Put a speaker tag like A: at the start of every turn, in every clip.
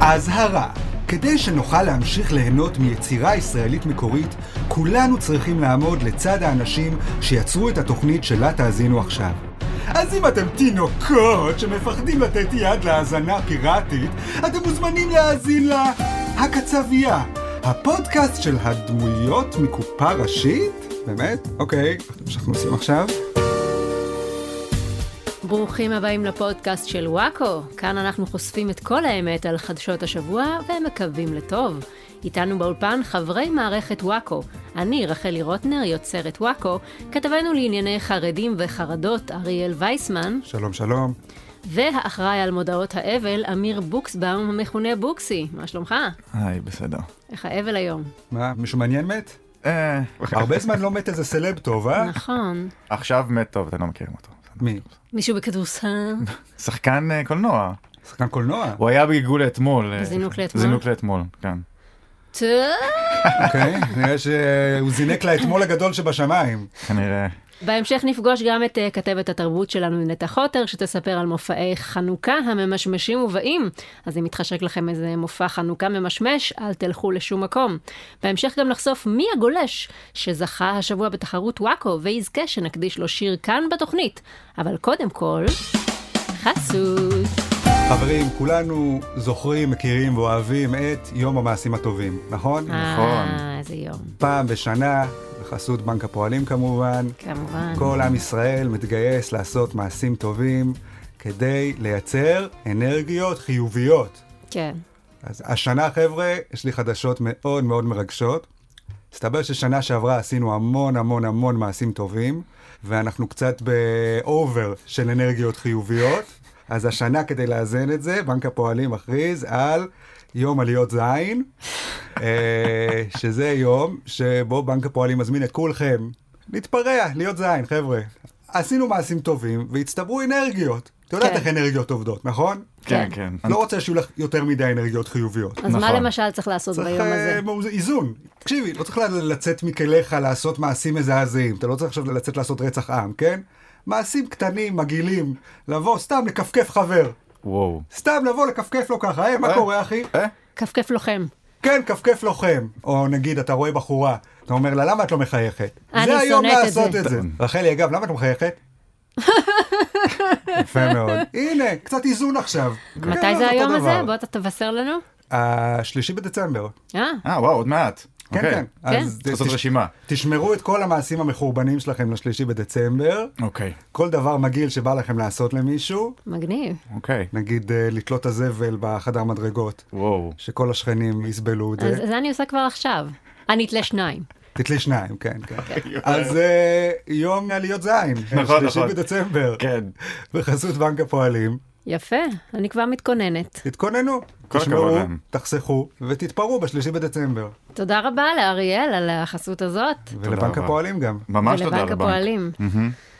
A: אזהרה, כדי שנוכל להמשיך ליהנות מיצירה ישראלית מקורית, כולנו צריכים לעמוד לצד האנשים שיצרו את התוכנית שלה תאזינו עכשיו. אז אם אתם תינוקות שמפחדים לתת יד להאזנה פיראטית, אתם מוזמנים להאזין לה הקצבייה, הפודקאסט של הדמויות מקופה ראשית? באמת? אוקיי, זה מה שאנחנו עושים עכשיו.
B: ברוכים הבאים לפודקאסט של וואקו. כאן אנחנו חושפים את כל האמת על חדשות השבוע ומקווים לטוב. איתנו באולפן חברי מערכת וואקו. אני, רחלי רוטנר, יוצרת וואקו, כתבנו לענייני חרדים וחרדות, אריאל וייסמן,
A: שלום, שלום.
B: והאחראי על מודעות האבל, אמיר בוקסבאום, המכונה בוקסי. מה שלומך?
C: היי, בסדר.
B: איך האבל היום?
A: מה, מישהו מעניין מת?
C: אה,
A: הרבה זמן לא מת איזה סלב טוב, אה?
B: נכון.
C: עכשיו מת טוב, אתם לא מכירים אותו.
A: מי?
B: מישהו בכדורסל?
C: שחקן אה, קולנוע.
A: שחקן קולנוע,
C: הוא היה בגלגול לאתמול. אה,
B: בזינוק לאתמול?
C: זינוק לאתמול, כן.
B: טוב.
A: אוקיי? נראה שהוא זינק לאתמול הגדול שבשמיים.
C: כנראה.
B: בהמשך נפגוש גם את אה, כתבת התרבות שלנו נטע חוטר, שתספר על מופעי חנוכה הממשמשים ובאים. אז אם מתחשק לכם איזה מופע חנוכה ממשמש, אל תלכו לשום מקום. בהמשך גם נחשוף מי הגולש שזכה השבוע בתחרות וואקו, ויזכה שנקדיש לו שיר כאן בתוכנית. אבל קודם כל, חסות.
A: חברים, כולנו זוכרים, מכירים ואוהבים את יום המעשים הטובים, נכון?
B: אה, איזה יום,
A: פעם בשנה, בחסות בנק הפועלים כמובן,
B: כמובן.
A: כל עם ישראל מתגייס לעשות מעשים טובים כדי לייצר אנרגיות חיוביות.
B: כן.
A: אז השנה, חבר'ה, יש לי חדשות מאוד מאוד מרגשות. מסתבר ששנה שעברה עשינו המון המון המון מעשים טובים, ואנחנו קצת באובר של אנרגיות חיוביות. אז השנה, כדי לאזן את זה, בנק הפועלים מכריז על יום עליות זין, אה, שזה יום שבו בנק הפועלים מזמין את כולכם להתפרע, להיות זין, חבר'ה. עשינו מעשים טובים והצטברו אנרגיות. את יודעת
B: כן.
A: איך אנרגיות עובדות, נכון?
C: כן,
B: כן.
C: כן.
A: לא רוצה שיהיו לך יותר מדי אנרגיות חיוביות.
B: אז מה
C: נכון.
B: למשל צריך לעשות
A: צריך
B: ביום הזה?
A: אה, מאוז- איזון. תקשיבי, לא צריך ל- לצאת מכליך לעשות מעשים מזעזעים. אתה לא צריך עכשיו לצאת לעשות רצח עם, כן? מעשים קטנים, מגעילים. לבוא, סתם לכפכף חבר.
C: וואו.
A: סתם לבוא לכפכף לו ככה, היי, מה
C: אה?
A: קורה, אחי?
C: אה?
B: כפכף לוחם.
A: כן, כפכף לוחם. או נגיד, אתה רואה בחורה, אתה אומר לה, למה את לא מחייכת?
B: אני
A: זה היום
B: שונאת את
A: לעשות
B: זה.
A: את זה. רחלי, אגב, למה את לא מחייכת? יפה מאוד. הנה, קצת איזון עכשיו. כן,
B: מתי
A: אותו
B: זה היום הזה?
A: דבר.
B: בוא ת- תבשר לנו.
A: השלישי בדצמבר.
B: אה,
C: אה, וואו, עוד מעט.
A: כן,
C: אוקיי.
A: כן.
B: כן.
A: אז
C: צריך לעשות
A: תש-
C: רשימה.
A: תשמרו את כל המעשים המחורבנים שלכם לשלישי בדצמבר.
C: אוקיי.
A: כל דבר מגעיל שבא לכם לעשות למישהו,
B: מגניב.
C: אוקיי.
A: נגיד אה, לתלות את הזבל בחדר מדרגות,
C: וואו.
A: שכל השכנים יסבלו את
B: אז
A: זה.
B: זה אני עושה כבר עכשיו. אני אתלה שניים.
A: תתלי שניים, כן, כן.
B: אוקיי.
A: אז אה, יום עליות זין, אה,
C: נכון,
A: שלישי
C: נכון.
A: בדצמבר,
C: כן.
A: בחסות בנק הפועלים.
B: יפה, אני כבר מתכוננת.
A: תתכוננו,
C: כל הכבוד
A: תשמרו,
C: להם.
A: תחסכו ותתפרעו בשלישי בדצמבר.
B: תודה רבה לאריאל על החסות הזאת.
A: ולבנק
C: רבה.
A: הפועלים גם.
C: ממש תודה
B: ולבנק
C: רבה.
B: הפועלים.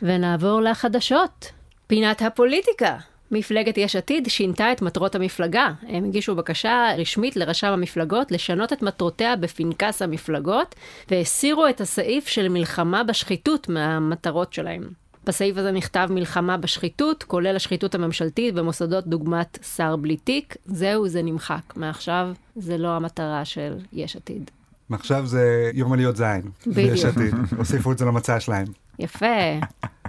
B: ונעבור לחדשות. פינת הפוליטיקה. מפלגת יש עתיד שינתה את מטרות המפלגה. הם הגישו בקשה רשמית לרשם המפלגות לשנות את מטרותיה בפנקס המפלגות, והסירו את הסעיף של מלחמה בשחיתות מהמטרות שלהם. בסעיף הזה נכתב מלחמה בשחיתות, כולל השחיתות הממשלתית במוסדות דוגמת שר בלי תיק. זהו, זה נמחק. מעכשיו זה לא המטרה של יש עתיד.
A: מעכשיו זה יום עליות זין.
B: בדיוק.
A: יש עתיד, הוסיפו את זה למצע שלהם.
B: יפה,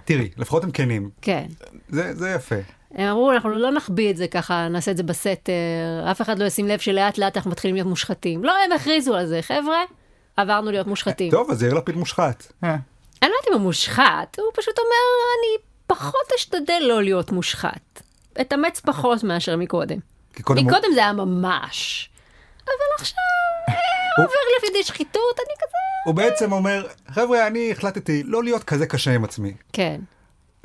A: תראי, לפחות הם כנים,
B: כן.
A: זה, זה יפה.
B: הם אמרו, אנחנו לא נחביא את זה ככה, נעשה את זה בסתר, אף אחד לא ישים לב שלאט לאט אנחנו מתחילים להיות מושחתים. לא, הם הכריזו על זה, חבר'ה, עברנו להיות מושחתים.
A: טוב, אז יאיר לפיד מושחת.
C: אה,
B: אני לא יודעת אם הוא מושחת, הוא פשוט אומר, אני פחות אשתדל לא להיות מושחת. אתאמץ פחות מאשר מקודם.
A: כי קודם הוא-
B: מקודם זה היה ממש. אבל עכשיו, אה,
A: הוא-
B: עובר לפי שחיתות, אני כזה...
A: הוא בעצם אומר, חבר'ה, אני החלטתי לא להיות כזה קשה עם עצמי.
B: כן,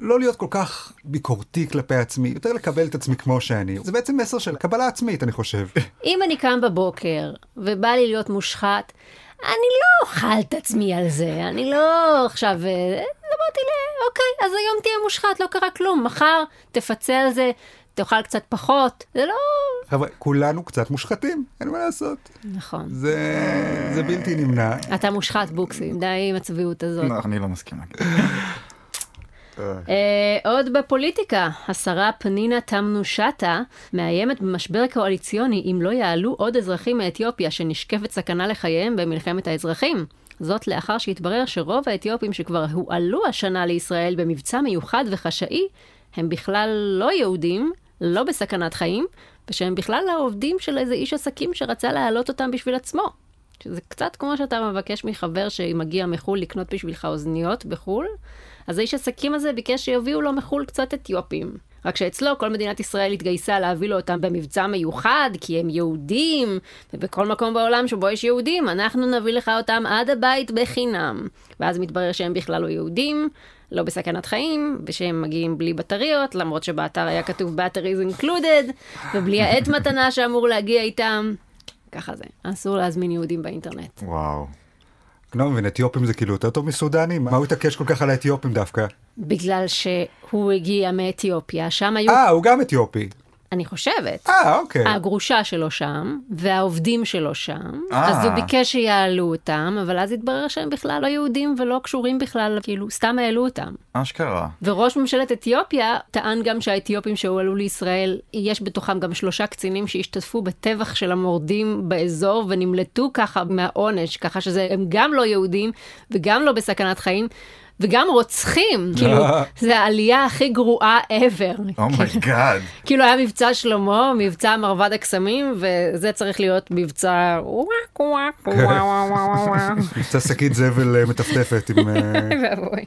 A: לא להיות כל כך ביקורתי כלפי עצמי, יותר לקבל את עצמי כמו שאני. זה בעצם מסר של קבלה עצמית, אני חושב.
B: אם אני קם בבוקר ובא לי להיות מושחת, אני לא אוכל את עצמי על זה, אני לא עכשיו... אה, אמרתי לה, אוקיי, אז היום תהיה מושחת, לא קרה כלום, מחר תפצה על זה, תאכל קצת פחות, זה לא...
A: חבר'ה, כולנו קצת מושחתים, אין מה לעשות.
B: נכון.
A: זה, זה בלתי נמנע.
B: אתה מושחת, בוקסי, די עם הצביעות הזאת.
C: לא, אני לא מסכים. להגיד.
B: אה, עוד בפוליטיקה, השרה פנינה תמנו שטה מאיימת במשבר קואליציוני אם לא יעלו עוד אזרחים מאתיופיה שנשקפת סכנה לחייהם במלחמת האזרחים. זאת לאחר שהתברר שרוב האתיופים שכבר הועלו השנה לישראל במבצע מיוחד וחשאי, הם בכלל לא יהודים, לא בסכנת חיים, ושהם בכלל העובדים של איזה איש עסקים שרצה להעלות אותם בשביל עצמו. שזה קצת כמו שאתה מבקש מחבר שמגיע מחו"ל לקנות בשבילך אוזניות בחו"ל, אז האיש עסקים הזה ביקש שיביאו לו מחו"ל קצת אתיופים. רק שאצלו כל מדינת ישראל התגייסה להביא לו אותם במבצע מיוחד, כי הם יהודים, ובכל מקום בעולם שבו יש יהודים, אנחנו נביא לך אותם עד הבית בחינם. ואז מתברר שהם בכלל לא יהודים, לא בסכנת חיים, ושהם מגיעים בלי בטריות, למרות שבאתר היה כתוב batteries included, ובלי העט מתנה שאמור להגיע איתם. ככה זה, אסור להזמין יהודים באינטרנט.
C: וואו.
A: אני לא מבין, אתיופים זה כאילו יותר טוב מסודנים? מה הוא התעקש כל כך על האתיופים דווקא?
B: בגלל שהוא הגיע מאתיופיה, שם היו,
A: אה, הוא גם אתיופי.
B: אני חושבת,
A: אה, אוקיי.
B: הגרושה שלו שם, והעובדים שלו שם,
C: אה.
B: אז הוא ביקש שיעלו אותם, אבל אז התברר שהם בכלל לא יהודים ולא קשורים בכלל, כאילו, סתם העלו אותם.
C: אשכרה.
B: וראש ממשלת אתיופיה טען גם שהאתיופים שהועלו לישראל, יש בתוכם גם שלושה קצינים שהשתתפו בטבח של המורדים באזור ונמלטו ככה מהעונש, ככה שזה, הם גם לא יהודים וגם לא בסכנת חיים. וגם רוצחים, כאילו, זה העלייה הכי גרועה ever.
C: Oh אומייגאד.
B: כאילו היה מבצע שלמה, מבצע מרבד הקסמים, וזה צריך להיות מבצע וואק וואק וואק וואק וואק.
A: מבצע שקית זבל אה, מטפטפת עם... אה,
B: ואבוי.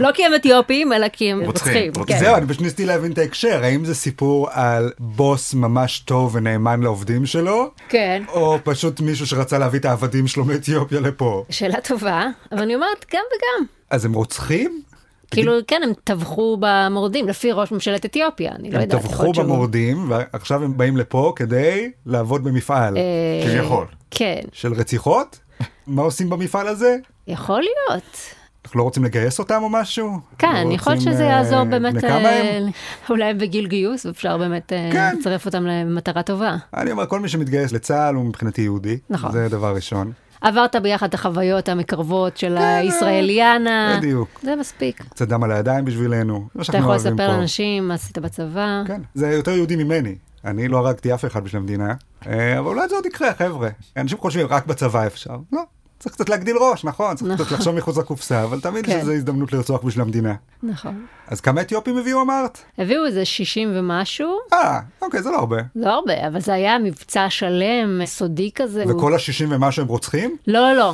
B: לא כי הם אתיופים, אלא כי הם
C: רוצחים,
B: רוצחים.
C: רוצחים.
B: כן.
A: זהו, אני פשוט ניסיתי להבין את ההקשר, האם זה סיפור על בוס ממש טוב ונאמן לעובדים שלו,
B: כן.
A: או פשוט מישהו שרצה להביא את העבדים שלו מאתיופיה לפה.
B: שאלה טובה, אבל אני אומרת גם וגם.
A: אז הם רוצחים?
B: כאילו, כן, הם טבחו במורדים, לפי ראש ממשלת אתיופיה, אני לא
A: הם
B: יודעת. יכול
A: טבחו
B: להיות שהוא-
A: במורדים, ועכשיו הם באים לפה כדי לעבוד במפעל.
B: אה,
C: כביכול.
B: כן,
A: של רציחות? מה עושים במפעל הזה?
B: יכול להיות.
A: אנחנו לא רוצים לגייס אותם או משהו?
B: כן,
A: לא
B: יכול להיות
A: רוצים,
B: שזה
A: אה,
B: יעזור באמת,
A: בני כמה
B: אה,
A: הם?
B: אולי הם בגיל גיוס, אפשר באמת אה,
A: כן.
B: לצרף אותם למטרה טובה.
A: אני אומר, כל מי שמתגייס לצה"ל הוא מבחינתי יהודי.
B: נכון.
A: זה דבר ראשון.
B: עברת ביחד את החוויות המקרבות של הישראליאנה.
A: כן, אה. בדיוק.
B: זה מספיק.
A: קצת דם על הידיים בשבילנו. זה מה
B: אה. אתה
A: שאנחנו
B: יכול
A: אוהבים
B: לספר
A: פה.
B: לאנשים מה עשית בצבא.
A: כן, זה יותר יהודי ממני. אני לא הרגתי אף אחד בשביל המדינה, אה, אבל אולי זה עוד יקרה, חבר'ה. אנשים חושבים, רק בצבא אפשר. לא, צריך קצת להגדיל ראש, נכון, צריך קצת לחשוב מחוץ לקופסה, אבל תמיד יש
B: כן.
A: איזו הזדמנות לרצוח בשביל המדינה.
B: נכון.
A: אז כמה אתיופים הביאו אמרת?
B: הביאו איזה 60 ומשהו,
A: אה, אוקיי, זה לא הרבה.
B: לא הרבה, אבל זה היה מבצע שלם, סודי כזה.
A: וכל השישים ומשהו הם רוצחים?
B: לא, לא, לא.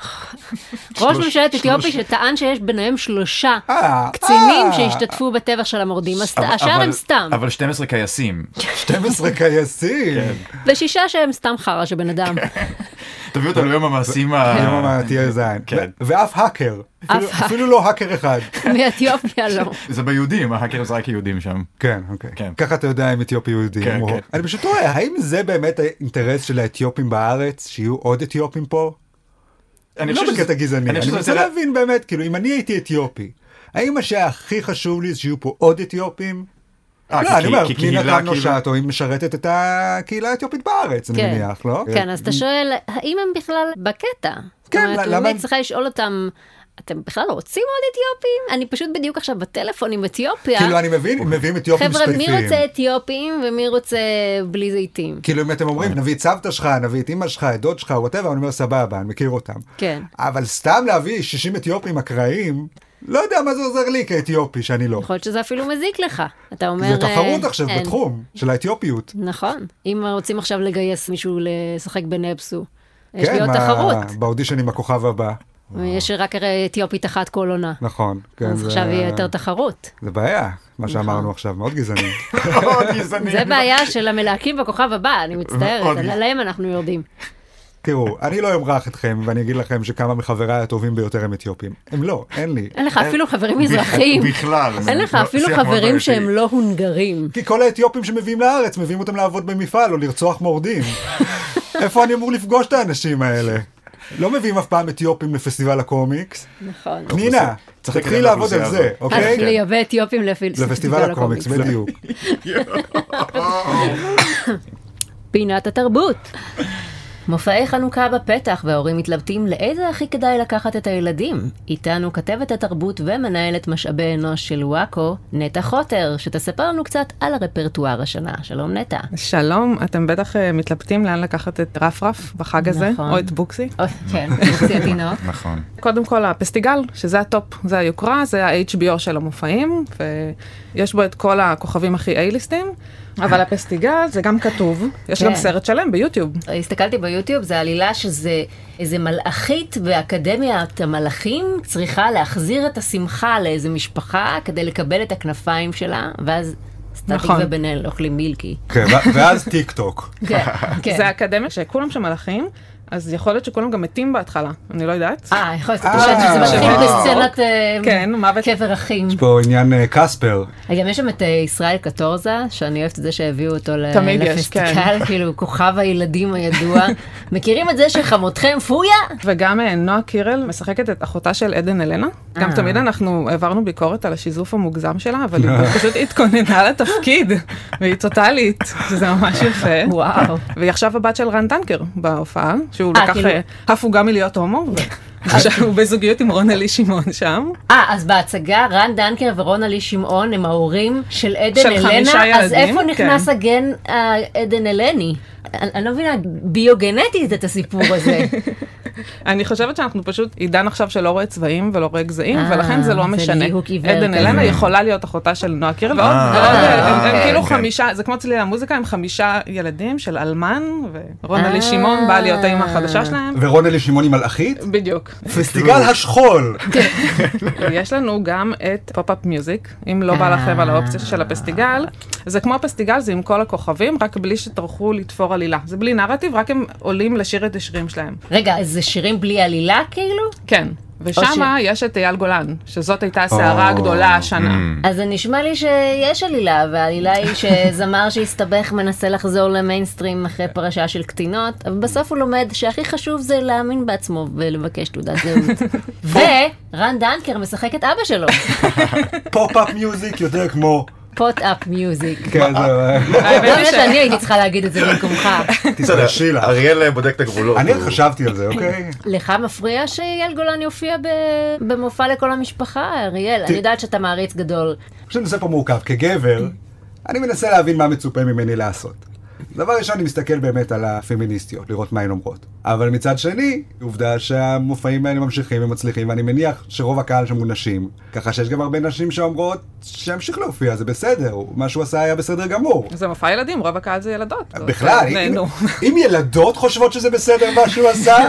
B: ראש
A: שלוש-
B: ממשלת אתיופיה
A: שלוש-
B: שטען שיש ביניהם שלושה
A: אה,
B: קצינים
A: אה.
B: שהשתתפו בטבח של המורדים, אז
C: אבל-
B: השאר
C: אבל-
B: הם סתם. כן.
C: אבל 12 קייסים.
A: 12 קייסים.
B: ושישה שהם סתם חרא של בן אדם.
A: כן.
C: תביאו אותנו ליום המעשים ה...
A: יום תהיה זין.
C: כן.
A: ו- ואף האקר. אפילו-
B: האקר.
A: אפילו לא האקר אחד.
B: מאתיופיה לא.
C: זה ביהודים, ההאקרים זה רק יהודים שם.
A: כן, אוקיי.
C: כן.
A: ככה אתה יודע אם אתיופי יהודי.
C: כן,
A: או-
C: כן.
A: אני פשוט תוהה, האם זה באמת האינטרס של האתיופים בארץ, שיהיו עוד אתיופים פה?
C: אני
A: לא
C: חושב שזה-
A: בקטע גזעני, אני
C: חושב שזה
A: מנסה
C: יותר-
A: להבין באמת, כאילו, אם אני הייתי אתיופי, האם מה שהיה הכי חשוב לי זה שיהיו פה עוד אתיופים?
C: אה,
A: לא,
C: כי-
A: אני אומר,
C: כי- כי
A: פנינה
C: קהילה,
A: תמנו
C: כאילו-
A: שטו, היא משרתת את הקהילה האתיופית בארץ, אני
B: כן.
A: מניח, לא?
B: כן, אז אתה שואל, האם הם בכלל בקטע?
A: כן,
B: זאת
A: למה-
B: אומרת, למה... אני צריכה לשאול אותם, אתם בכלל רוצים עוד אתיופים? אני פשוט בדיוק עכשיו בטלפון עם אתיופיה.
A: כאילו, אני לא מבין, אם מביאים אתיופים
B: חבר'ה, מי
A: ספציפיים.
B: רוצה אתיופים ומי רוצה בלי זיתים?
A: כאילו אם אתם אומרים נביא את סבתא שלך נביא את אמא שלך את דוד שלך וואטאבר אני אומר סבבה אני מכיר אותם.
B: כן.
A: אבל סתם להביא 60 אתיופים אקראיים לא יודע מה זה עוזר לי כאתיופי שאני לא.
B: יכול להיות שזה אפילו מזיק לך. אתה נכון, אומר...
A: זה תחרות
B: אה,
A: עכשיו
B: אין.
A: בתחום של האתיופיות.
B: נכון. אם רוצים עכשיו לגייס מישהו לשחק בנפסו, יש
A: כן,
B: לי עוד
A: מה-
B: תחרות.
A: באודישן עם הכוכב הבא.
B: יש רק הרי אתיופית אחת כל עונה.
A: נכון. כן,
B: אז
A: זה-
B: עכשיו יהיה יותר נכון. תחרות.
A: זה בעיה מה שאמרנו עכשיו מאוד גזעני.
C: מאוד גזעני.
B: זה בעיה של המלהקים בכוכב הבא, אני מצטערת,
C: מאוד.
B: על- עליהם אנחנו יורדים.
A: תראו אני לא אמרח אתכם ואני אגיד לכם שכמה מחבריי הטובים ביותר הם אתיופים. הם לא אין לי.
B: אין לך אפילו חברים מזרחיים.
C: בכלל. זה
B: אין לך
C: לא-
B: אפילו
C: שיח מאוד
B: חברים
C: בעייתי.
B: שהם לא הונגרים.
A: כי כל האתיופים שמביאים לארץ מביאים אותם לעבוד במפעל או לרצוח מורדים. איפה אני אמור לפגוש את האנשים האלה? לא מביאים אף פעם אתיופים לפסטיבל הקומיקס.
B: נכון.
A: פנינה,
C: צריך
A: תתחילי
C: לקדם
A: לעבוד על
C: לאוכלוסייה
A: זה,
C: הזאת.
B: אז
A: אוקיי?
B: לייבא אתיופים לפ-
A: לפסטיבל הקומיקס, בדיוק.
B: פינת התרבות. מופעי חנוכה בפתח וההורים מתלבטים לאיזה הכי כדאי לקחת את הילדים. איתנו כתבת התרבות ומנהלת משאבי אנוש של וואקו, נטע חוטר, שתספר לנו קצת על הרפרטואר השנה. שלום נטע.
D: שלום, אתם בטח אה, מתלבטים לאן לקחת את רפרף בחג הזה,
B: נכון.
D: או את בוקסי.
B: אוי, כן, מוציא התינוק.
C: נכון.
D: קודם כל הפסטיגל, שזה הטופ, זה היוקרה, זה ה-HBO של המופעים, ויש בו את כל הכוכבים הכי A-ליסטים, אבל הפסטיגל זה גם כתוב, יש
B: כן.
D: גם סרט שלם ביוטיוב.
B: הסתכלתי ביוטיוב, זה עלילה שזה איזה מלאכית באקדמיית המלאכים צריכה להחזיר את השמחה לאיזה משפחה כדי לקבל את הכנפיים שלה, ואז סטטיק
D: נכון.
B: ובן אל אוכלים מילקי.
A: כן, ו- ואז טיק טוק.
B: כן, כן.
D: זה אקדמיה שכולם שם מלאכים, אז יכול להיות שכולם גם מתים בהתחלה, אני לא יודעת.
B: אה, יכול להיות,
A: אה,
B: אני חושבת שזה מתחיל
A: וואו.
B: בסצנת אה,
D: כן, מוות.
B: קבר אחים.
A: יש פה עניין אה, קספר.
B: גם יש שם את אה, ישראל קטורזה, שאני אוהבת את זה שהביאו אותו ל-
D: תמיד יש, כן.
B: לפסטיגל, כאילו כוכב הילדים הידוע. מכירים את זה שחמותכם פויה?
D: וגם אה, נועה קירל משחקת את אחותה של עדן אלנה. גם
B: אה.
D: תמיד אנחנו העברנו ביקורת על השיזוף המוגזם שלה, אבל היא פשוט התכוננה לתפקיד, והיא טוטאלית, שזה ממש יפה.
B: וואו.
D: והיא עכשיו הבת של רן טנקר בהופעה, שהוא
B: אה,
D: לקח
B: כאילו-
D: אה, הפוגה מלהיות הומו, ועכשיו הוא בזוגיות עם רונלי שמעון שם.
B: אה, אז בהצגה רן דנקר ורונלי שמעון הם ההורים של עדן
D: של
B: אלנה,
D: חמישה
B: אז
D: ילדים,
B: איפה נכנס
D: כן.
B: הגן אה, עדן אלני? אני אני לא מבינה ביוגנטית את הסיפור הזה.
D: אני חושבת שאנחנו פשוט עידן עכשיו שלא רואה צבעים ולא רואה גזעים,
B: אה,
D: ולכן זה לא
B: זה
D: משנה.
B: ליהוק עיוור
D: עדן
B: כזה.
D: אלנה יכולה להיות אחותה של נועה קירל, ועוד,
C: אה,
D: ועוד, הם- הם
B: אוקיי.
D: כאילו
C: כן.
D: חמישה, זה כמו צלילי המוזיקה, הם חמישה ילדים של אלמן,
B: אה.
D: ורונלי שמעון באה להיות האימא החדשה שלהם.
A: ורונלי שמעוני מלאכית?
D: בדיוק.
A: פסטיגל השכול!
D: יש לנו גם את פופ-אפ מיוזיק, אם לא
B: אה.
D: בא לכם על האופציה של הפסטיגל. זה כמו הפסטיגל, זה עם כל הכוכבים, רק בלי שטרחו לתפור עלילה. זה בלי נרטיב, רק הם עולים לשיר את השירים שלהם.
B: רגע, אז זה שירים בלי עלילה כאילו?
D: כן. ושמה יש את אייל גולן, שזאת הייתה הסערה
A: או, אה,
D: הגדולה השנה.
B: אז זה נשמע לי שיש עלילה, והעלילה היא שזמר שהסתבך מנסה לחזור למיינסטרים אחרי פרשה של קטינות, אבל בסוף הוא לומד שהכי חשוב זה להאמין בעצמו ולבקש תעודת זהות. ורן דנקר משחק את אבא שלו,
A: פופ-אפ מיוזיק יותר כמו...
B: פוט-אפ מיוזיק.
A: כן, זהו.
D: האמת
B: לא
D: היא
B: באמת
D: ש-
B: שאני הייתי צריכה להגיד את זה במקומך.
A: תתביישי לך.
C: אריאל בודק את הגבולות.
A: אני חשבתי על זה, אוקיי?
B: לך מפריע שאייל גולן יופיע ב- במופע לכל המשפחה, אריאל? אני יודעת שאתה מעריץ גדול.
A: פשוט נושא פה מורכב. כגבר, אני מנסה להבין מה מצופה ממני לעשות. דבר ראשון, אני מסתכל באמת על הפמיניסטיות, לראות מה הן אומרות. אבל מצד שני, עובדה שהמופעים האלה ממשיכים ומצליחים, ואני מניח שרוב הקהל שם הוא נשים. ככה שיש גם הרבה נשים שאומרות, שימשיך להופיע, זה בסדר, מה שהוא עשה היה בסדר גמור.
D: זה מופע ילדים, רוב הקהל זה ילדות.
A: בכלל, אם,
D: נהנו.
A: אם ילדות חושבות שזה בסדר מה שהוא עשה,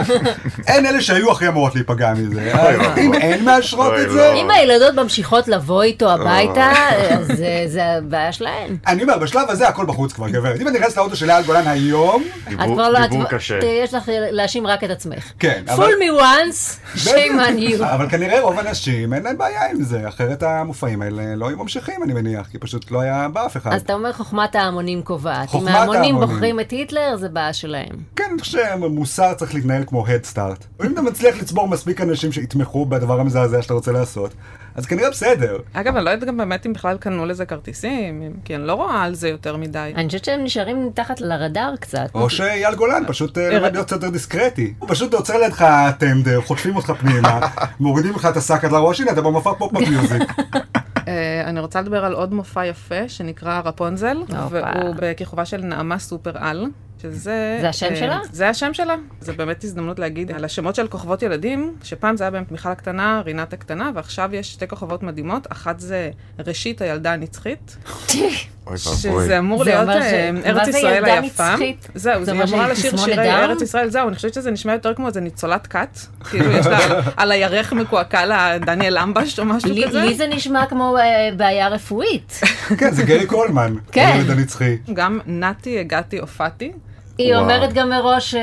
A: הן אלה שהיו הכי אמורות להיפגע מזה. אז
C: אוי,
A: אם
C: אוי.
A: הן מאשרות
C: אוי,
A: את זה,
C: לא.
B: אם הילדות ממשיכות לבוא איתו הביתה, אז זה- זה הבעיה שלהן.
A: אני אומר, בשלב הזה הכל בחוץ כבר, גברת. אם אני נכנס לאוטו של אייל גולן היום,
B: את
C: דיבור
B: כבר לא... את
C: דיבור
B: כבר-
C: קשה.
B: ת- יש לך להאשים רק את עצמך.
A: כן, אבל...
B: פול מי once, shame on you.
A: אבל כנראה רוב הנשים אין להם בעיה עם זה, אחרת המופעים האלה לא היו ממשיכים, אני מניח, כי פשוט לא היה בא אף אחד.
B: אז אתה אומר חוכמת ההמונים קובעת. אם
A: חוכמת
B: ההמונים
A: ההמונים.
B: בוחרים את היטלר, זה בעיה שלהם.
A: כן, אני חושב שמוסר צריך להתנהל כמו Head Start. אם אתה מצליח לצבור מספיק אנשים שיתמכו בדבר המזעזע שאתה רוצה לעשות, אז כנראה בסדר.
D: אגב, אני לא יודעת גם באמת אם בכלל קנו לזה כרטיסים, אם- כי אני לא רואה על זה יותר מדי.
B: אני חושבת שהם נשארים מתחת לרדאר קצת.
A: או שאייל גולן פשוט אה, לומד להיות קצת יותר דיסקרטי. הוא פשוט עוצר לידך טנדר, חוטפים אותך פנימה, מורידים לך את השק עד לראש, הנה אתה במופע פופ-אפ מיוזיק.
D: אה, אני רוצה לדבר על עוד מופע יפה שנקרא רפונזל, והוא בכיכובה של נעמה סופר על. שזה...
B: זה השם
D: אה,
B: שלה?
D: זה השם שלה. זה באמת הזדמנות להגיד על השמות של כוכבות ילדים, שפעם זה היה באמת מיכל הקטנה, רינת הקטנה, ועכשיו יש שתי כוכבות מדהימות, אחת זה ראשית הילדה הנצחית,
C: אוי ואבוי.
D: שזה אמור
B: זה
D: להיות
B: אומר ש-
D: אה,
B: מה
D: ארץ
B: זה
D: ישראל
B: ילדה
D: היפה.
B: נצחית?
D: זהו,
B: זה
D: זה
B: אומר
D: אמורה
B: שהיא
D: לשיר
B: תסמונת
D: שירי
B: דאון?
D: ארץ ישראל, זהו, אני חושבת שזה נשמע יותר כמו איזה ניצולת כת. כאילו יש לה על הירך מקועקע לה דניאל אמבש או משהו
B: לי
D: כזה.
B: לי זה נשמע כמו אה, בעיה רפואית.
A: כן, זה גרי קולמן.
B: כן.
A: הילד הנצחי.
D: גם נתי, הגעתי, הופעתי.
B: היא
C: וואו.
B: אומרת גם מראש, אה,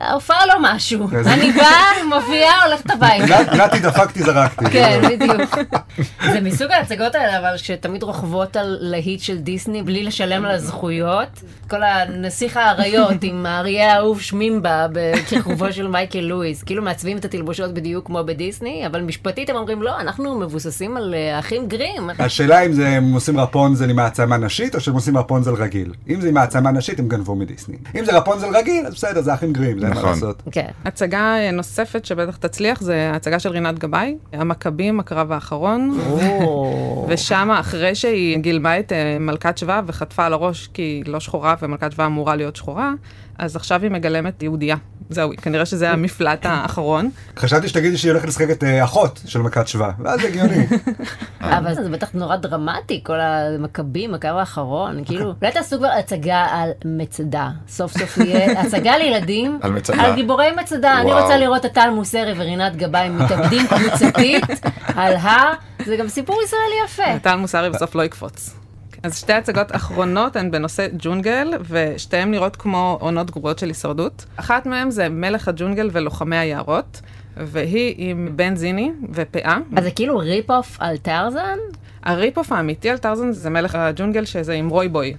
B: ההופעה לא משהו.
A: איזה-
B: אני באה, מופיעה, הולכת הביתה.
A: נ- נתי דפקתי זרקתי.
B: כן, בדיוק. זה מסוג ההצגות האלה, אבל שתמיד רוכבות על להיט של דיסני בלי לשלם על הזכויות. כל הנסיך האריות עם האריה האהוב שמימבה בכיכובו של מייקל לואיס. כאילו מעצבים את התלבושות בדיוק כמו בדיסני, אבל משפטית הם אומרים, לא, אנחנו מבוססים על אה, האחים גרים.
A: השאלה אם זה הם עושים רפונזל עם העצמה נשית או שהם עושים רפונזל רגיל. אם זה עם העצמה נשית הם גנבו מדיסני. אם זה רפונזל רגיל, אז בסדר, זה אחים גרים, זה אין מה
C: נכון.
A: לעשות.
E: כן.
D: הצגה אה, נוספת שבטח תצליח זה הצגה של רינת גבאי, המכבים, הקרב האחרון. ושם אחרי שהיא גילמה את אה, מלכת שבא וחטפה על הראש כי היא לא שחורה ומלכת שבא אמורה להיות שחורה, אז עכשיו היא מגלמת יהודייה. זהו, כנראה שזה המפלט האחרון.
A: חשבתי שתגידי שהיא הולכת לשחק את אה, אחות של מכת שווה, ואז זה הגיוני.
C: אה.
B: אבל זה בטח נורא דרמטי, כל המכבים, הקו האחרון, כאילו, אולי תעשו כבר הצגה על מצדה. סוף סוף יהיה הצגה לילדים,
C: על מצדה.
B: על גיבורי מצדה. אני
C: וואו.
B: רוצה לראות את טל מוסרי ורינת גבאי מתאבדים קבוצתית על הר, זה גם סיפור ישראלי יפה.
D: טל מוסרי בסוף לא יקפוץ. אז שתי הצגות אחרונות הן בנושא ג'ונגל, ושתיהן נראות כמו עונות גרועות של הישרדות. אחת מהן זה מלך הג'ונגל ולוחמי היערות, והיא עם בן זיני ופאה.
B: אז זה כאילו ריפ אוף על טרזן?
D: הריפ-אוף האמיתי על טרזן זה מלך הג'ונגל שזה עם רוי בוי.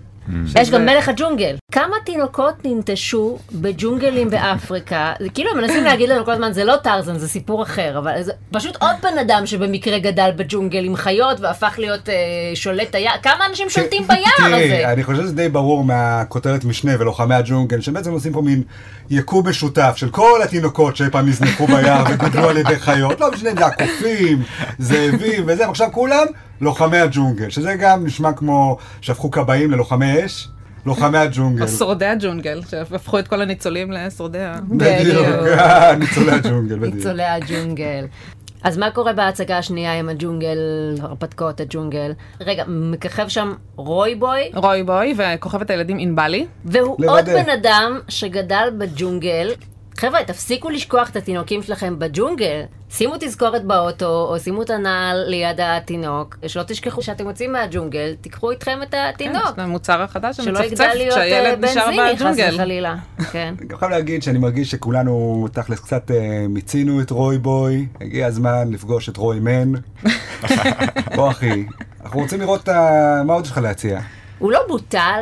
B: יש גם מלך הג'ונגל. כמה תינוקות ננטשו בג'ונגלים באפריקה? זה כאילו הם מנסים להגיד לנו כל הזמן, זה לא טרזן, זה סיפור אחר, אבל זה פשוט עוד בן אדם שבמקרה גדל בג'ונגל עם חיות והפך להיות אה, שולט היער. כמה אנשים שולטים ביער הזה?
A: תראי, אני חושב שזה די ברור מהכותרת משנה ולוחמי הג'ונגל, שבעצם עושים פה מין יקום משותף של כל התינוקות שאי פעם נזנחו ביער וגודלו על ידי חיות, לא משנה אם זה הקופים, זאבים וזה, ועכשיו כולם לוחמי הג'ונגל, שזה גם נשמע כמו שהפכו כבאים ללוחמי אש, לוחמי הג'ונגל.
D: או שורדי הג'ונגל, שהפכו את כל הניצולים לשורדי ה...
A: בדיוק,
B: בדיוק.
A: ניצולי הג'ונגל, בדיוק.
B: ניצולי הג'ונגל. אז מה קורה בהצגה השנייה עם הג'ונגל, הרפתקאות הג'ונגל? רגע, מככב שם רוי בוי,
D: רוי בוי וכוכבת הילדים ענבלי.
B: והוא
A: לוודא.
B: עוד בן אדם שגדל בג'ונגל. חבר'ה, תפסיקו לשכוח את התינוקים שלכם בג'ונגל. שימו תזכורת באוטו, או שימו את הנעל ליד התינוק. שלא תשכחו שאתם יוצאים מהג'ונגל, תיקחו איתכם את התינוק.
D: כן, זה המוצר החדש
B: שלא
D: שמצפצף
B: יגדל להיות אה,
D: כשהילד
B: בן
D: נשאר
B: זיני, חס
D: בג'ונגל.
B: וחלילה. כן.
A: אני גם חייב להגיד שאני מרגיש שכולנו תכלס קצת אה, מיצינו את רוי בוי, הגיע הזמן לפגוש את רוי מן. בוא אחי, אנחנו רוצים לראות את ה- מה עוד יש לך להציע.
B: הוא לא בוטל,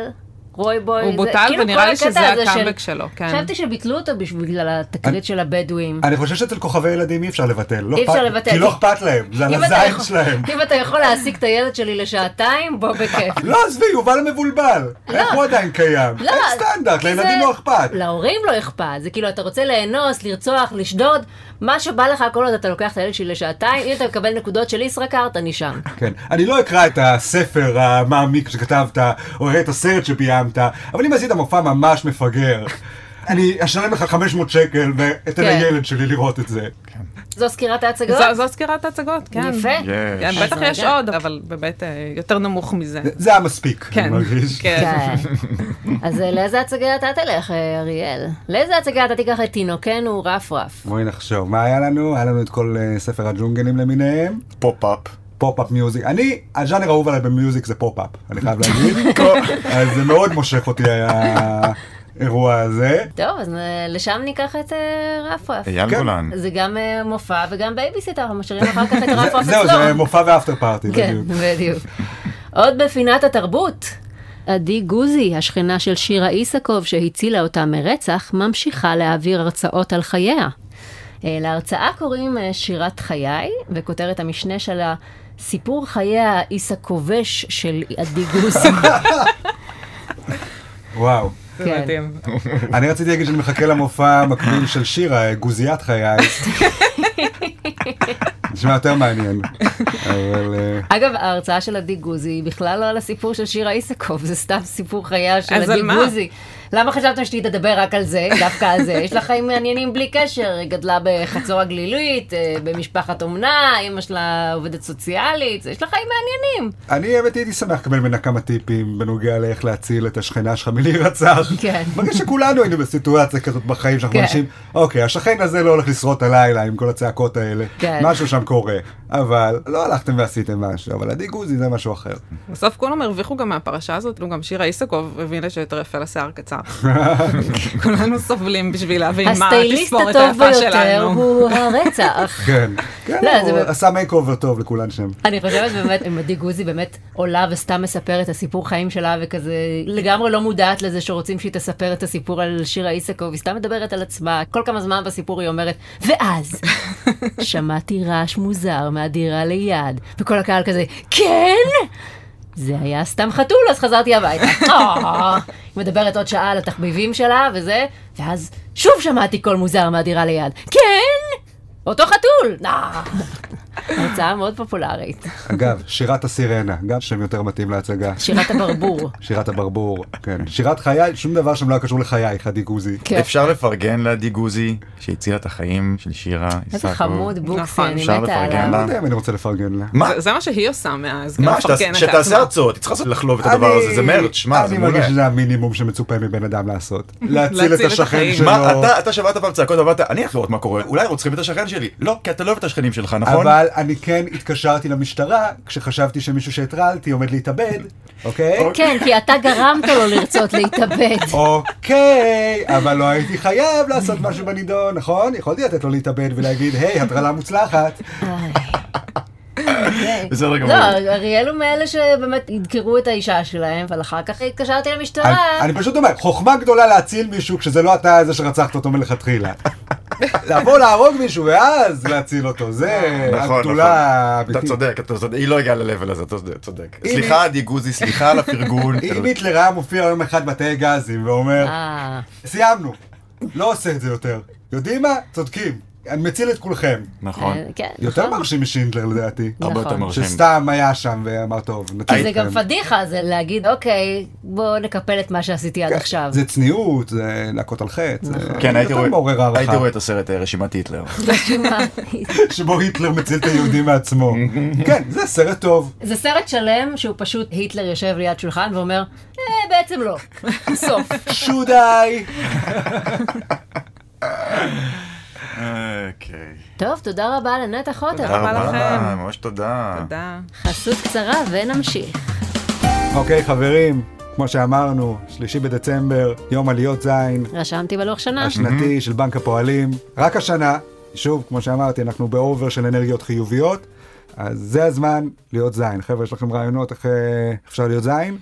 B: רוי בוי.
D: הוא
B: זה-
D: בוטל,
B: כאילו
D: ונראה
B: כל
D: לי שזה
B: הקטע הזה
D: הקאמבק
B: של-
D: שלו, כן.
B: חשבתי שביטלו אותו בגלל התקרית של הבדואים.
A: אני חושב שאצל כוכבי ילדים אי אפשר לבטל. לא
B: אי אפשר
A: אכפת-
B: לבטל.
A: כי לא אכפת להם, זה על
B: אם אתה
A: הזין
B: יכול-
A: שלהם.
B: אם אתה יכול להעסיק את הילד שלי לשעתיים, בוא בכיף.
A: לא, עזבי, יובל מבולבל. איך הוא עדיין קיים?
B: לא,
A: אין סטנדרט,
B: כי
A: לילדים
B: זה-
A: לא אכפת.
B: להורים לא אכפת, זה כאילו אתה רוצה לאנוס, לרצוח, לשדוד, מה שבא לך כל עוד אתה לוקח את הילד שלי לשעתיים, אם אתה מקבל נקודות של ישראכרט, אני שם.
A: כן, אני לא אקרא את הספר המעמיק שכתבת, או אראה את הסרט שביימת, אבל אם עשית מופע ממש מפגר, אני אשלם לך 500 שקל ואתן
B: כן.
A: לילד שלי לראות את זה.
B: זו סקירת ההצגות?
D: זו- זו סקירת ההצגות, כן.
B: יפה.
D: כן,
C: יש.
D: בטח
B: אז
D: יש
B: רגע.
D: עוד, אבל באמת אה, יותר נמוך מזה.
A: זה- זה היה מספיק, אני
D: כן,
A: מרגיש.
D: כן.
B: כן. אז אה, לאיזה הצגה אתה תלך, אה, אריאל? לאיזה הצגה אתה תיקח את תינוקנו רפרף?
A: בואי נחשוב, מה היה לנו? היה לנו את כל אה, ספר הג'ונגלים למיניהם.
C: פופ-אפ.
A: פופ-אפ מיוזיק. אני, הז'אנר האהוב עליי במיוזיק זה פופ-אפ, אני חייב להגיד. אז זה מאוד מושך אותי אה, האירוע הזה.
B: טוב, אז אה, לשם ניקח את אה, רפרף.
C: אייל
A: כן.
C: גולן.
B: זה גם אה, מופע וגם בייביסיטר, אנחנו משאירים אחר כך את רפרף
A: זהו,
B: אצלו.
A: זה מופע ואפטר פארטי,
B: כן,
A: בדיוק.
B: בדיוק. עוד בפינת התרבות. עדי גוזי, השכנה של שירה איסקוב שהצילה אותה מרצח, ממשיכה להעביר הרצאות על חייה. אה, להרצאה קוראים אה, שירת חיי, וכותרת המשנה שלה, סיפור חיי האיס הכובש של עדי גוזי.
A: וואו.
D: זה
B: כן.
D: מדהים.
A: אני רציתי להגיד שאני מחכה למופע המקביל של שירה, גוזיית חיי. נשמע יותר מעניין. אבל... אה,
B: אגב, ההרצאה של עדי גוזי היא בכלל לא על הסיפור של שירה איסקוב, זה סתם סיפור חייה של
D: אז
B: עדי
D: על מה?
B: גוזי. למה חשבתם שהיא תדבר רק על זה, דווקא על זה? יש לה חיים מעניינים בלי קשר, היא גדלה בחצור הגלילית, אה, במשפחת אומנה, אימא שלה עובדת סוציאלית, יש לה חיים מעניינים.
A: אני האמת הייתי שמח לקבל ממנה כמה טיפים בנוגע לאיך להציל את השכנה שלך מלהירצח.
B: כן.
A: מרגיש שכולנו היינו בסיטואציה כזאת בחיים שאנחנו
B: כן.
A: אנשים, אוקיי, השכן הזה לא הולך לשרוט הלילה עם כל הצעקות האלה.
B: כן.
A: משהו שם קורה. אבל לא הלכתם ועשיתם משהו, אבל עדי גוזי זה משהו אחר.
D: בסוף כולם הרוויחו גם מהפרשה הזאת, לא, גם שירה איסקוב הבינה שיותר יפה לשיער קצר. כולנו סובלים בשביל להבין מה
B: הסטייליסט
D: התספורת
B: הטוב
D: היפה
B: ביותר
D: שלנו.
B: הוא הרצח.
A: כן. כן,
B: לא,
A: הוא
B: זה-
A: עשה מייק אובר טוב לכולן שם.
B: אני חושבת באמת, אם עדי גוזי באמת עולה וסתם מספרת את הסיפור חיים שלה וכזה לגמרי לא מודעת לזה שרוצים שהיא תספר את הסיפור על שירה איסקוב, היא סתם מדברת על עצמה, כל כמה זמן בסיפור היא אומרת, ואז שמעתי רעש מוזר מהדירה ליד, וכל הקהל כזה, כן? זה היה סתם חתול, אז חזרתי הביתה. אה. היא מדברת עוד שעה על התחביבים שלה וזה, ואז שוב שמעתי קול מוזר מהדירה ליד. כן! אותו חתול! אה. הרצאה מאוד פופולרית.
A: אגב, שירת הסירנה, גם שם יותר מתאים להצגה.
B: שירת הברבור.
A: שירת הברבור, כן. שירת חיי, שום דבר שם לא היה קשור לחייך, עדי גוזי.
B: כן.
C: אפשר לפרגן לעדי גוזי, שהצילה את החיים של שירה איסקוב.
B: איזה חמוד בוקסי,
D: נכון,
B: אני
C: אפשר
B: מתה
C: לפרגן
B: עליו.
A: לא
C: לה.
A: יודע אם אני רוצה לפרגן לה.
C: מה?
D: זה- זה מה שהיא עושה מאז, גם
B: לא
C: מה? שתעש-
D: מפרגנת
C: שתעשה
D: לעצמה.
C: הרצאות, היא צריכה לעשות- לחלוב את הדבר הזה, זה מרץ', מה? זה
A: אני
C: מעולה.
A: מרגיש שזה המינימום שמצופה מבן אדם לעשות. להציל את
D: להציל את
A: השכן
D: החיים.
A: שלו.
C: מה, אתה- אתה שמעת פעם צעקות, אמרת, אני הולך לראות מה קורה, אולי רוצחים את השכן שלי. לא, כי אתה לא אוהב את השכנים שלך, נכון?
A: אבל אני כן התקשרתי למשטרה כשחשבתי שמישהו שהטרלתי עומד להתאבד, אוקיי?
B: כן, כי אתה גרמת לו לרצות להתאבד.
A: אוקיי, אבל לא הייתי חייב לעשות משהו בנידון, נכון? יכולתי לתת לו להתאבד ולהגיד, היי, הטרלה מוצלחת.
B: אוקיי.
C: בסדר גמור.
B: אה. לא, אריאל הוא מאלה שבאמת ידקרו את האישה שלהם, אבל אחר כך התקשרתי למשטרה.
A: אני- אני פשוט אומר, חוכמה גדולה להציל מישהו כשזה לא אתה זה שרצחת אותו מלכתחילה. לבוא להרוג מישהו ואז להציל אותו, זה
C: נכון, נכון.
A: אה, הגדולה האמיתית.
C: אתה צודק, אתה צודק, היא לא הגיעה ל-level הזה, אתה צודק, צודק.
A: היא-
C: סליחה, עדי גוזי, סליחה על הפרגון.
A: אם היטלר היה מופיע יום אחד בתאי גזים ואומר,
B: אה,
A: סיימנו, לא עושה את זה יותר. יודעים מה? צודקים, אני מציל את כולכם.
C: נכון,
B: אה, כן,
A: יותר
B: נכון.
A: מרשים משינדלר לדעתי.
C: הרבה יותר
B: נכון.
C: מרשים.
A: שסתם היה שם ואמר, טוב, כן." נציל
B: כי
A: אתכם.
B: זה גם פדיחה, זה להגיד, אוקיי, בואו נקפל את מה שעשיתי עד עכשיו.
A: זה צניעות, זה להכות על חץ.
B: נכון.
A: זה
C: כן, הייתי
A: יותר מעורר
C: רואה הייתי
A: הערכה.
C: רואה את הסרט אה, רשימת היטלר.
A: שבו היטלר מציל את היהודים מעצמו. כן, זה סרט טוב.
B: זה סרט שלם שהוא פשוט היטלר יושב ליד שולחן ואומר, אה, בעצם לא. סוף.
A: שודי!
C: אוקיי.
B: טוב, תודה רבה לנטע חוטר.
D: רבה לכם.
C: ממש תודה.
D: תודה.
B: חסות קצרה ונמשיך.
A: אוקיי, חברים, כמו שאמרנו, שלישי בדצמבר, יום עליות זין,
B: רשמתי בלוח שנה.
A: השנתי של בנק הפועלים. רק השנה, שוב, כמו שאמרתי, אנחנו באובר של אנרגיות חיוביות, אז זה הזמן להיות זין. חבר'ה, יש לכם רעיונות איך אה, אפשר להיות זין?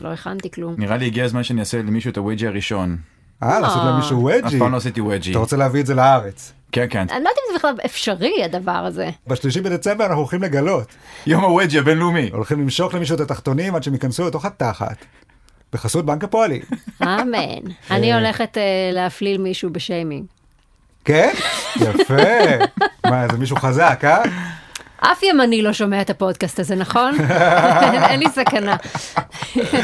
B: לא הכנתי כלום.
C: נראה לי הגיע הזמן שאני אעשה למישהו את הווג'י הראשון.
A: אה, לעשות
B: אה.
A: למישהו
C: אף
A: וג'י.
C: פעם לא עשיתי ווג'י.
A: אתה רוצה להביא את זה לארץ.
C: כן, כן.
B: אני לא יודעת אם זה בכלל אפשרי, הדבר הזה.
A: בשלישי בדצמבר אנחנו הולכים לגלות.
C: יום הווג'י הבינלאומי.
A: הולכים למשוך למישהו את התחתונים עד שהם ייכנסו לתוך התחת. בחסות בנק הפועלים.
B: אמן. אני הולכת אה, להפליל מישהו בשיימינג.
A: כן? יפה. מה, זה מישהו חזק, אה?
B: אף ימני לא שומע את הפודקאסט הזה, נכון? אין לי סכנה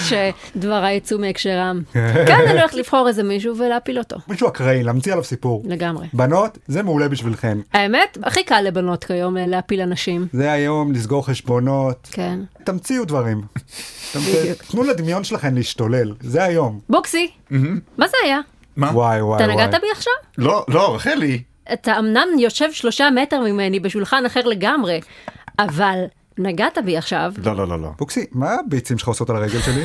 B: שדבריי יצאו מהקשרם. כאן אני הולכת לבחור איזה מישהו ולהפיל אותו,
A: מישהו אקראי, להמציא עליו סיפור.
B: לגמרי.
A: בנות, זה מעולה בשבילכן.
B: האמת, הכי קל לבנות כיום אה, להפיל אנשים.
A: זה היום לסגור חשבונות.
B: כן.
A: תמציאו דברים. תמ-
B: בדיוק.
A: תנו לדמיון שלכם להשתולל, זה היום.
B: בוקסי, מה זה היה?
C: מה?
A: וואי וואי
B: אתה
A: וואי.
B: נגעת בי עכשיו?
C: לא, לא, רחלי.
B: אתה אמנם יושב שלושה מטר ממני בשולחן אחר לגמרי, אבל נגעת בי עכשיו.
C: לא, לא, לא, לא.
A: בוקסי, מה הביצים שלך עושות על הרגל שלי?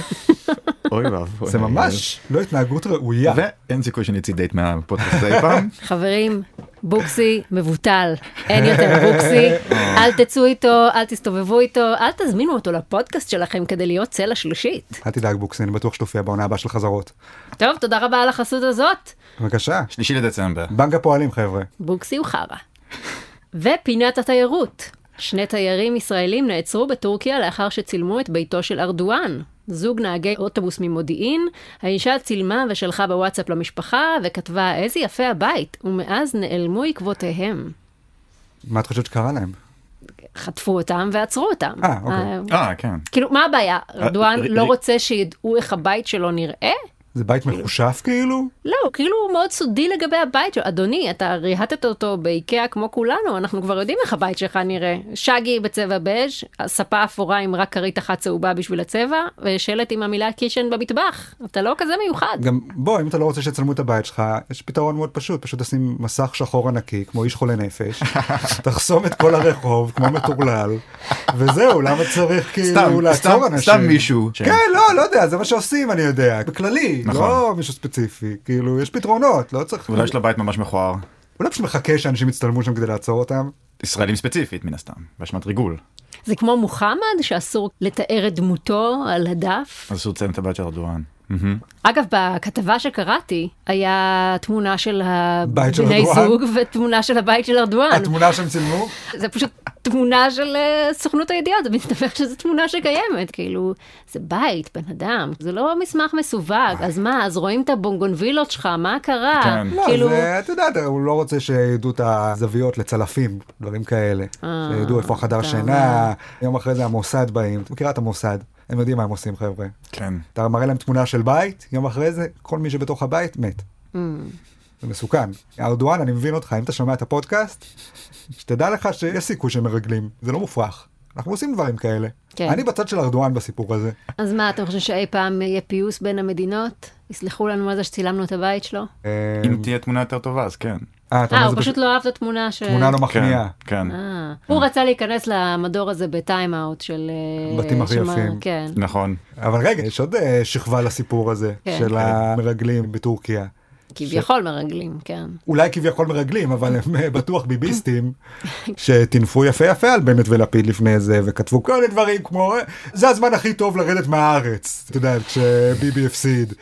C: אוי ואבוי.
A: זה ממש לא התנהגות ראויה.
C: ואין סיכוי שנצא דייט מהפודקאסט הזה אי פעם.
B: חברים, בוקסי מבוטל, אין יותר בוקסי, אל תצאו איתו, אל תסתובבו איתו, אל תזמינו אותו לפודקאסט שלכם כדי להיות צלע שלישית.
A: אל תדאג בוקסי, אני בטוח שתופיע בעונה הבאה של חזרות.
B: טוב, תודה רבה על החסות הזאת,
A: בבקשה.
C: שלישי לדצמבר.
A: בנק הפועלים חבר'ה.
B: בוקסי הוא חרא. ופינת התיירות, שני תיירים ישראלים נעצרו בטורקיה לאחר שצילמו את ביתו של ארדואן. זוג נהגי אוטובוס ממודיעין, האישה צילמה ושלחה בוואטסאפ למשפחה וכתבה איזה יפה הבית, ומאז נעלמו עקבותיהם.
A: מה את חושבת שקרה להם?
B: חטפו אותם ועצרו אותם.
A: אה, אוקיי.
B: אה,
C: אה, כן.
B: כאילו, מה הבעיה? ארדואן
C: ר-
B: לא
C: ר-
B: רוצה שידעו איך הבית שלו נראה?
A: זה בית מחושף כאילו?
B: לא, כאילו הוא מאוד סודי לגבי הבית שלו. אדוני, אתה ריהטת אותו באיקאה כמו כולנו, אנחנו כבר יודעים איך הבית שלך נראה. שגי בצבע בז', ספה אפורה עם רק כרית אחת צהובה בשביל הצבע, ושלט עם המילה קישן במטבח. אתה לא כזה מיוחד.
A: גם בוא, אם אתה לא רוצה שיצלמו את הבית שלך, יש פתרון מאוד פשוט, פשוט תשים מסך שחור ענקי, כמו איש חולה נפש, תחסום את כל הרחוב, כמו מטורלל, וזהו, למה צריך
C: סתם,
A: כאילו לעצור
C: סתם-
A: אנשים?
C: סתם מישהו.
A: כן, לא, לא יודע, זה מה שעושים, אני יודע, בכללי,
C: נכון.
A: לא מישהו ספציפי, כאילו, יש פתרונות, לא צריך...
C: אולי יש לה בית ממש מכוער.
A: אולי פשוט מחכה שאנשים יצטלמו שם כדי לעצור אותם?
C: ישראלים ספציפית, מן הסתם, באשמת ריגול.
B: זה כמו מוחמד, שאסור לתאר את דמותו על הדף.
C: אז שהוא ציין את הבת של ארדואן.
B: אגב, בכתבה שקראתי, היה תמונה של
A: בית של
B: בני
A: ארדואן?
B: זוג ותמונה של הבית של ארדואן.
A: התמונה שהם צילמו?
B: זה פשוט תמונה של אה, סוכנות הידיעות, זה מסתבר שזו תמונה שקיימת, כאילו, זה בית, בן אדם, זה לא מסמך מסווג, אז מה, אז רואים את הבונגונבילות שלך, מה קרה?
C: כן.
A: לא,
B: כאילו,
A: זה, אתה יודע, אתה- הוא לא רוצה שידעו את הזוויות לצלפים, דברים כאלה. שידעו איפה החדר
B: אה, אתה
A: שינה, יום אחרי זה המוסד באים. את מכירה את המוסד, הם יודעים מה הם עושים, חבר'ה.
C: כן.
A: אתה מראה להם תמונה של בית, יום אחרי זה, כל מי שבתוך הבית מת.
B: Mm.
A: זה מסוכן. ארדואן, אני מבין אותך, אם אתה שומע את הפודקאסט, שתדע לך שיש סיכוי שהם מרגלים, זה לא מופרך. אנחנו עושים דברים כאלה.
B: כן.
A: אני בצד של ארדואן בסיפור הזה.
B: אז מה, אתם חושבים שאי פעם יהיה פיוס בין המדינות? יסלחו לנו על זה שצילמנו את הבית שלו?
A: אה,
C: אם תהיה תמונה יותר טובה, אז כן.
A: אה, אתה
B: אה,
A: אומר,
B: הוא
A: זה
B: פשוט
A: פשוט
B: לא אהב את התמונה ש...
A: תמונה לא מחמיאה.
C: כן, כן.
B: אה, הוא רצה להיכנס למדור הזה בטיים-אאוט של... אה,
A: בתים הכי
B: של מה-
A: יפים.
B: כן.
C: נכון.
A: אבל רגע, יש עוד אה, שכבה לסיפור הזה,
B: כן.
A: של המרגלים בטורקיה.
B: כביכול מרגלים, כן.
A: אולי כביכול מרגלים, אבל הם אה, בטוח ביביסטים, שטינפו יפה יפה על בנט ולפיד לפני זה, וכתבו כל מיני דברים כמו, "אה, זה הזמן הכי טוב לרדת מהארץ, אתה יודע, כשביבי הפסיד.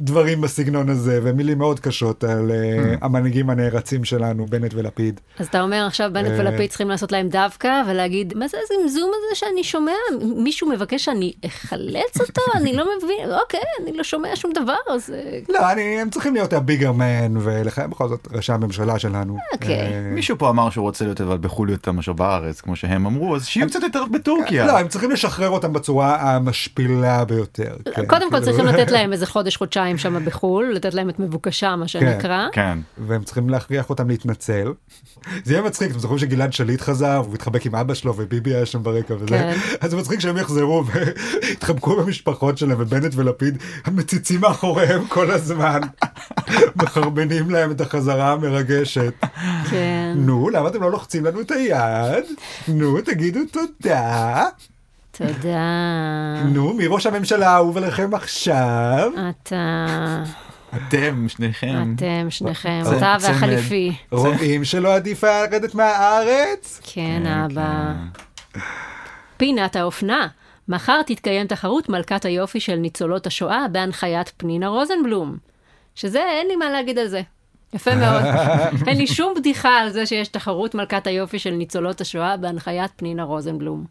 A: דברים בסגנון הזה, ומילים מאוד קשות על אה, המנהיגים הנערצים שלנו, בנט ולפיד.
B: אז אתה אומר עכשיו בנט
A: אה.
B: ולפיד צריכים לעשות להם דווקא ולהגיד, מה זה הזמזום הזה שאני שומע? מישהו מבקש שאני אחלץ אותו? אני לא מבין, אוקיי, אני לא שומע שום דבר, אז... אה,
A: לא, אני, הם צריכים להיות הביגר מן, ולכן בכל זאת ראשי הממשלה שלנו.
B: אוקיי.
A: אה,
C: מישהו פה אמר שהוא רוצה להיות אבל בחו"ל יותר מאשר בארץ, כמו שהם אמרו, אז שיהיו קצת יותר בטורקיה.
A: לא, הם צריכים לשחרר אותם בצורה המשפילה ביותר. כן,
B: קודם כל
A: כאילו.
B: צריכים לתת להם איזה חודש-חודשיים שם בחו"ל, לתת להם את מבוקשה, מה שנקרא.
C: כן.
A: והם צריכים להכריח אותם להתנצל. זה יהיה מצחיק, אתם זוכרים שגלעד שליט חזר, הוא התחבק עם אבא שלו וביבי היה שם ברקע וזה.
B: כן.
A: אז זה מצחיק שהם יחזרו ויתחבקו במשפחות שלהם, ובנט ולפיד מציצים מאחוריהם כל הזמן. מחרבנים להם את החזרה המרגשת.
B: כן,
A: נו, למה אתם לא לוחצים לנו את היד? נו, תגידו תודה.
B: תודה.
A: נו, מי ראש הממשלה האהוב עליכם עכשיו?
B: אתה,
C: אתם,
A: כן.
C: שניכם.
B: אתם שניכם,
C: צמד.
B: אתה והחליפי.
A: רואים שלא עדיף היה לרדת מהארץ?
B: כן, אבא. פינת האופנה. מחר תתקיים תחרות מלכת היופי של ניצולות השואה בהנחיית פנינה רוזנבלום. שזה, אין לי מה להגיד על זה. יפה מאוד. אין לי שום בדיחה על זה שיש תחרות מלכת היופי של ניצולות השואה בהנחיית פנינה רוזנבלום.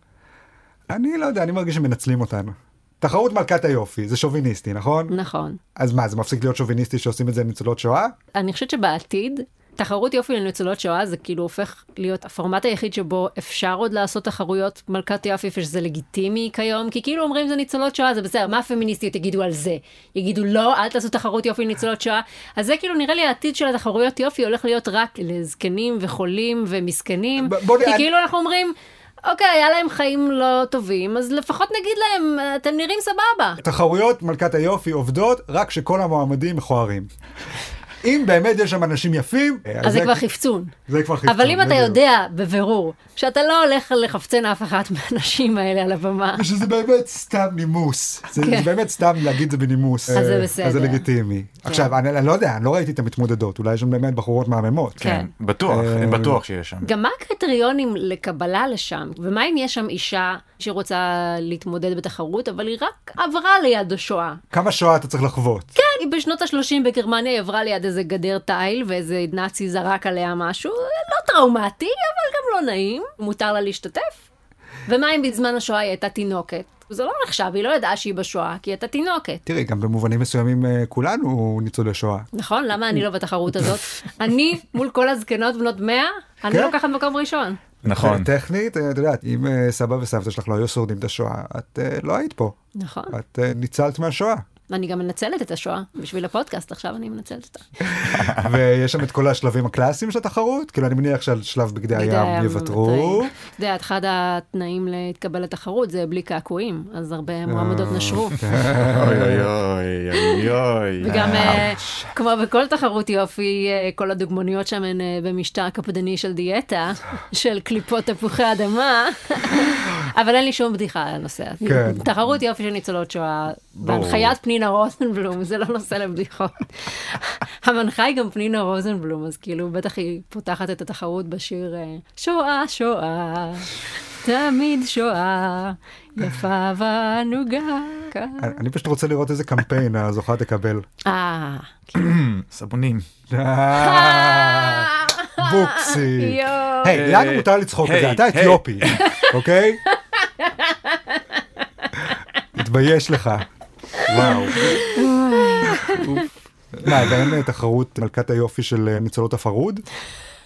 A: אני לא יודע, אני מרגיש שמנצלים אותנו. תחרות מלכת היופי, זה שוביניסטי, נכון?
B: נכון.
A: אז מה, זה מפסיק להיות שוביניסטי שעושים את זה לניצולות שואה?
B: אני חושבת שבעתיד, תחרות יופי לניצולות שואה זה כאילו הופך להיות הפורמט היחיד שבו אפשר עוד לעשות תחרויות מלכת יופי, ושזה לגיטימי כיום, כי כאילו אומרים זה ניצולות שואה, זה בסדר, מה הפמיניסטיות יגידו על זה? יגידו לא, אל תעשו תחרות יופי לניצולות שואה. אז זה כאילו נראה לי העתיד של התחרויות יופי הולך להיות רק לזקנים וחולים ומסכנים,
A: ב- בוא נ-
B: כי
A: אני-
B: כאילו אנחנו אומרים... אוקיי, היה להם חיים לא טובים, אז לפחות נגיד להם, אתם נראים סבבה.
A: תחרויות מלכת היופי עובדות רק כשכל המועמדים מכוערים. אם באמת יש שם אנשים יפים, אה,
B: אז זה כבר חפצון.
A: זה כבר חיפשון.
B: אבל אם אתה
A: בדיוק.
B: יודע בבירור שאתה לא הולך לחפצן אף אחת מהנשים האלה על הבמה,
A: שזה באמת סתם נימוס. זה זה
B: כן.
A: באמת סתם להגיד זה בנימוס.
B: אז זה
A: אה,
B: בסדר. כן.
A: אז זה לגיטימי. עכשיו, אני אני לא יודע, אני לא ראיתי את המתמודדות, אולי יש שם באמת בחורות מהממות.
C: כן. בטוח,
A: אה,
C: אני בטוח שיש שם.
B: גם מה הקריטריונים לקבלה לשם? ומה אם יש שם אישה שרוצה להתמודד בתחרות, אבל היא רק עברה ליד השואה?
A: כמה שואה אתה צריך לחוות?
B: כן, היא בשנות ה-30 בגרמניה היא עברה ליד איזה גדר תיל ואיזה נאצי זרק עליה משהו, לא טראומטי, אבל גם לא נעים, מותר לה להשתתף. ומה אם בזמן השואה היא הייתה תינוקת? זה לא נחשב, היא לא ידעה שהיא בשואה, כי היא הייתה תינוקת.
A: תראי, גם במובנים מסוימים אה, כולנו ניצולי שואה.
B: נכון? למה אני לא בתחרות הזאת? אני מול כל הזקנות בנות 100, אני
A: כן.
B: לוקחת מקום ראשון.
C: נכון.
A: טכנית, אה, את יודעת, אם אה, סבא וסבתא שלך לא היו שורדים את השואה, את אה, לא היית פה.
B: נכון.
A: את אה, ניצלת מהשואה.
B: ואני גם מנצלת את השואה, בשביל הפודקאסט עכשיו אני מנצלת אותה.
A: ויש שם את כל השלבים הקלאסיים של התחרות, כאילו אני מניח שעל שלב בגדי הים יוותרו.
B: מוותרים. אתה יודע, אחד התנאים להתקבל לתחרות זה בלי קעקועים, אז הרבה מועמדות
A: אה,
B: נשרו.
A: כן.
C: אוי אוי אוי אוי אוי.
B: וגם אה, כמו בכל תחרות יופי, אה, כל הדוגמניות שם הן אה, במשטר קפדני של דיאטה, של קליפות תפוחי אדמה, אבל אין לי שום בדיחה על הנושא הזה.
A: כן.
B: תחרות יופי של ניצולות שואה,
C: ברור.
B: בהנחיית פנינה רוזנבלום, זה לא נושא לבדיחות. המנחה היא גם פנינה רוזנבלום, אז כאילו, בטח היא פותחת את התחרות בשיר אה, שואה, שואה, תמיד שואה, יפה וענוגה.
A: אני פשוט רוצה לראות איזה קמפיין הזוכה תקבל.
B: אה,
C: סבונים.
A: אה, בוקסי.
B: יואו.
A: היי, לנו מותר לצחוק את זה,
C: היי,
A: אתה
C: היי.
A: אתיופי, אוקיי? תתבייש לך. וואו. מה, ואין אה, תחרות מלכת היופי של אה, ניצולות הפרהוד?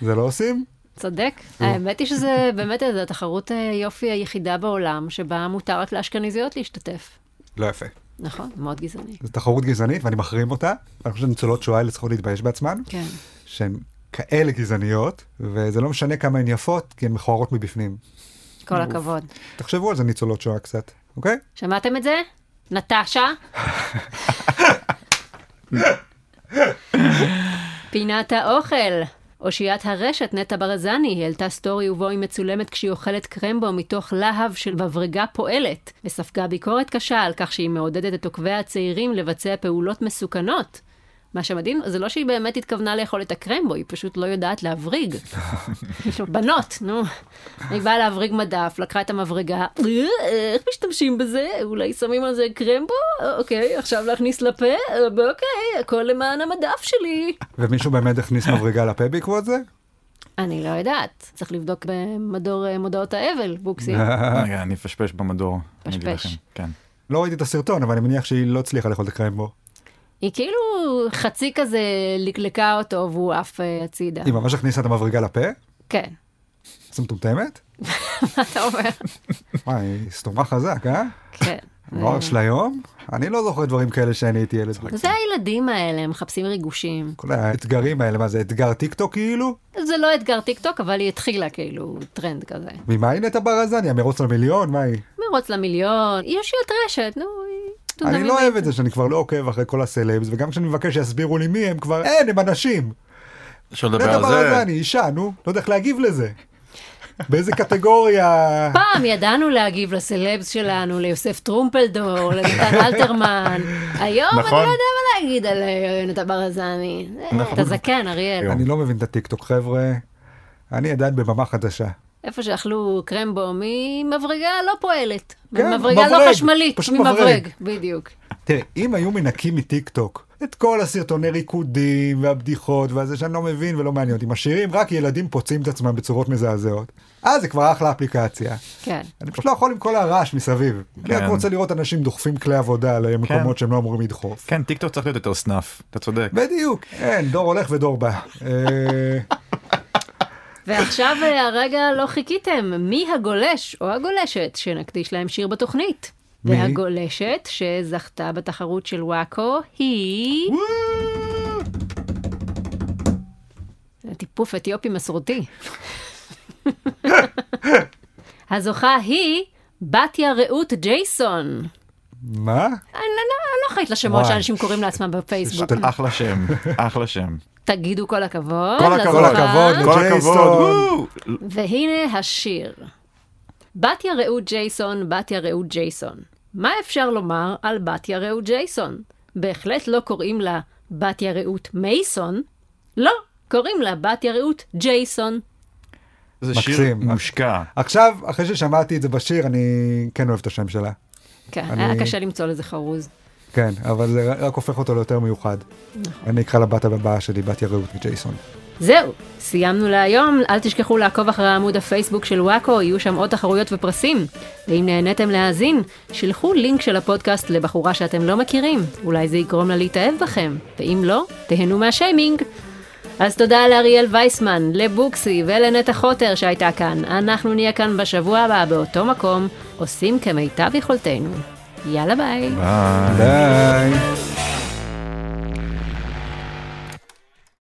A: זה לא עושים?
B: צודק. האמת היא שזה באמת איזו התחרות אה, יופי היחידה בעולם, שבה מותר רק לאשכנזיות להשתתף.
A: לא יפה.
B: נכון, מאוד גזעני.
A: זו תחרות גזענית ואני מחרים אותה. אני חושב שניצולות שואה האלה צריכות להתבייש בעצמן,
B: כן.
A: שהן כאלה גזעניות, וזה לא משנה כמה הן יפות, כי הן מכוערות מבפנים.
B: כל הכבוד.
A: תחשבו על זה ניצולות שואה קצת, אוקיי?
B: שמעתם את זה? נטשה? פינת האוכל. אושיית הרשת נטע ברזני העלתה סטורי ובו היא מצולמת כשהיא אוכלת קרמבו מתוך להב של בברגה פועלת, וספגה ביקורת קשה על כך שהיא מעודדת את עוקביה הצעירים לבצע פעולות מסוכנות. מה שמדהים זה לא שהיא באמת התכוונה לאכול את הקרמבו, היא פשוט לא יודעת להבריג. יש לו בנות, נו. היא באה להבריג מדף, לקחה את המברגה, "אה, איך משתמשים בזה? אולי שמים על זה קרמבו? אה, אוקיי, עכשיו להכניס לפה? אה, אוקיי, הכל למען המדף שלי.
A: ומישהו באמת הכניס מברגה לפה בעקבות זה?
B: אני לא יודעת, צריך לבדוק במדור אה, מודעות האבל, בוקסי.
A: אה.
C: רגע, אני אפשפש במדור. אני אגיד
B: פשפש.
C: לכם, כן.
A: לא ראיתי את הסרטון, אבל אני מניח שהיא לא הצליחה לאכול את הקרמבו.
B: היא כאילו חצי כזה לקלקה אותו והוא עף אה, הצידה.
A: היא ממש הכניסה את המברגה לפה?
B: כן,
A: אז מטומטמת?
B: מה אתה אומר?
A: וואי, היא סתומה חזק, אה?
B: כן.
A: נוער של היום? אני לא זוכר דברים כאלה שאני הייתי ילד.
B: זה הילדים האלה, הם מחפשים ריגושים.
A: כל האתגרים האלה, מה זה, אתגר טיקטוק כאילו?
B: זה לא אתגר טיקטוק, אבל היא התחילה כאילו טרנד כזה.
A: ממה היא נטע ברזני? המרוץ למיליון? מה היא?
B: מרוץ למיליון, היא אושיית רשת, נו, היא...
A: אני
B: דונמים
A: לא אוהב את זה שאני כבר לא עוקב אחרי כל הסלבס, וגם כשאני מבקש שיסבירו לי מי הם כבר, אין, הם אנשים. לא
C: אפשר
A: נטע
C: לדבר על זה.
A: ברזני, אישה, נו, לא יודע איך להגיב לזה. באיזה קטגוריה...
B: פעם ידענו להגיב לסלבס שלנו, ליוסף טרומפלדור, לנתן אלתרמן. היום אני לא
C: נכון.
B: יודע מה להגיד על אה, נטע ברזני. אה,
C: נכון.
B: אתה זקן, אריאל.
A: אני לא מבין את הטיקטוק, חבר'ה. אני עדיין בממה חדשה.
B: איפה שאכלו קרמבו ממברגה לא פועלת.
A: כן,
B: ממברגה לא
A: מברג,
B: חשמלית,
A: פשוט
B: ממברג,
A: מברג.
B: בדיוק.
A: תראה, אם היו מנקים מטיקטוק את כל הסרטוני ריקודים והבדיחות והזה שאני לא מבין ולא מעניין אותי, משאירים רק ילדים פוצעים את עצמם בצורות מזעזעות, אז זה כבר אחלה אפליקציה.
B: כן.
A: אני פשוט לא יכול עם כל הרעש מסביב. אני רק
C: כן.
A: רוצה לראות אנשים דוחפים כלי עבודה למקומות שהם לא אמורים לדחוף.
C: כן, טיקטוק צריך להיות יותר סנאף, אתה צודק.
A: בדיוק, אין, דור הולך ודור בא. אה,
B: ועכשיו אה, הרגע לא חיכיתם, מי הגולש או הגולשת שנקדיש להם שיר בתוכנית?
A: מי?
B: והגולשת שזכתה בתחרות של וואקו היא... זה טיפוף אתיופי מסורתי. הזוכה היא בתיה רעות ג'ייסון.
A: מה?
B: אני לא- אני לא אחראית לשמות
A: וואי.
B: שאנשים קוראים לעצמם בפייסבוק.
A: שטות.
C: אחלה שם, אחלה שם.
B: תגידו כל הכבוד.
C: כל הכבוד.
A: כל
B: לזוכה.
A: הכבוד
C: כל הכבוד,
A: לג'ייסון.
C: וואו.
B: והנה השיר. בתיה רעות ג'ייסון, בתיה רעות ג'ייסון. מה אפשר לומר על בתיה רעות ג'ייסון? בהחלט לא קוראים לה בתיה רעות מייסון. לא, קוראים לה בתיה רעות ג'ייסון.
C: זה שיר
A: מקסים.
C: מושקע.
A: עכשיו, אחרי ששמעתי את זה בשיר, אני כן אוהב את השם שלה.
B: כן,
A: אני-
B: היה קשה למצוא לזה חרוז.
A: כן, אבל זה רק הופך אותו ליותר מיוחד.
C: נכון.
A: אני אקרא לבת הבאה שלי, בת ירעות מג'ייסון.
B: זהו, סיימנו להיום. אל תשכחו לעקוב אחרי עמוד הפייסבוק של וואקו, יהיו שם עוד תחרויות ופרסים. ואם נהניתם להאזין, שילחו לינק של הפודקאסט לבחורה שאתם לא מכירים. אולי זה יגרום לה להתאהב בכם, ואם לא, תהנו מהשיימינג. אז תודה לאריאל וייסמן, לבוקסי ולנטע חוטר שהייתה כאן. אנחנו נהיה כאן בשבוע הבא באותו
C: אה.
B: מקום, עושים כמיטב יכולתנו. יאללה ביי.
A: ביי.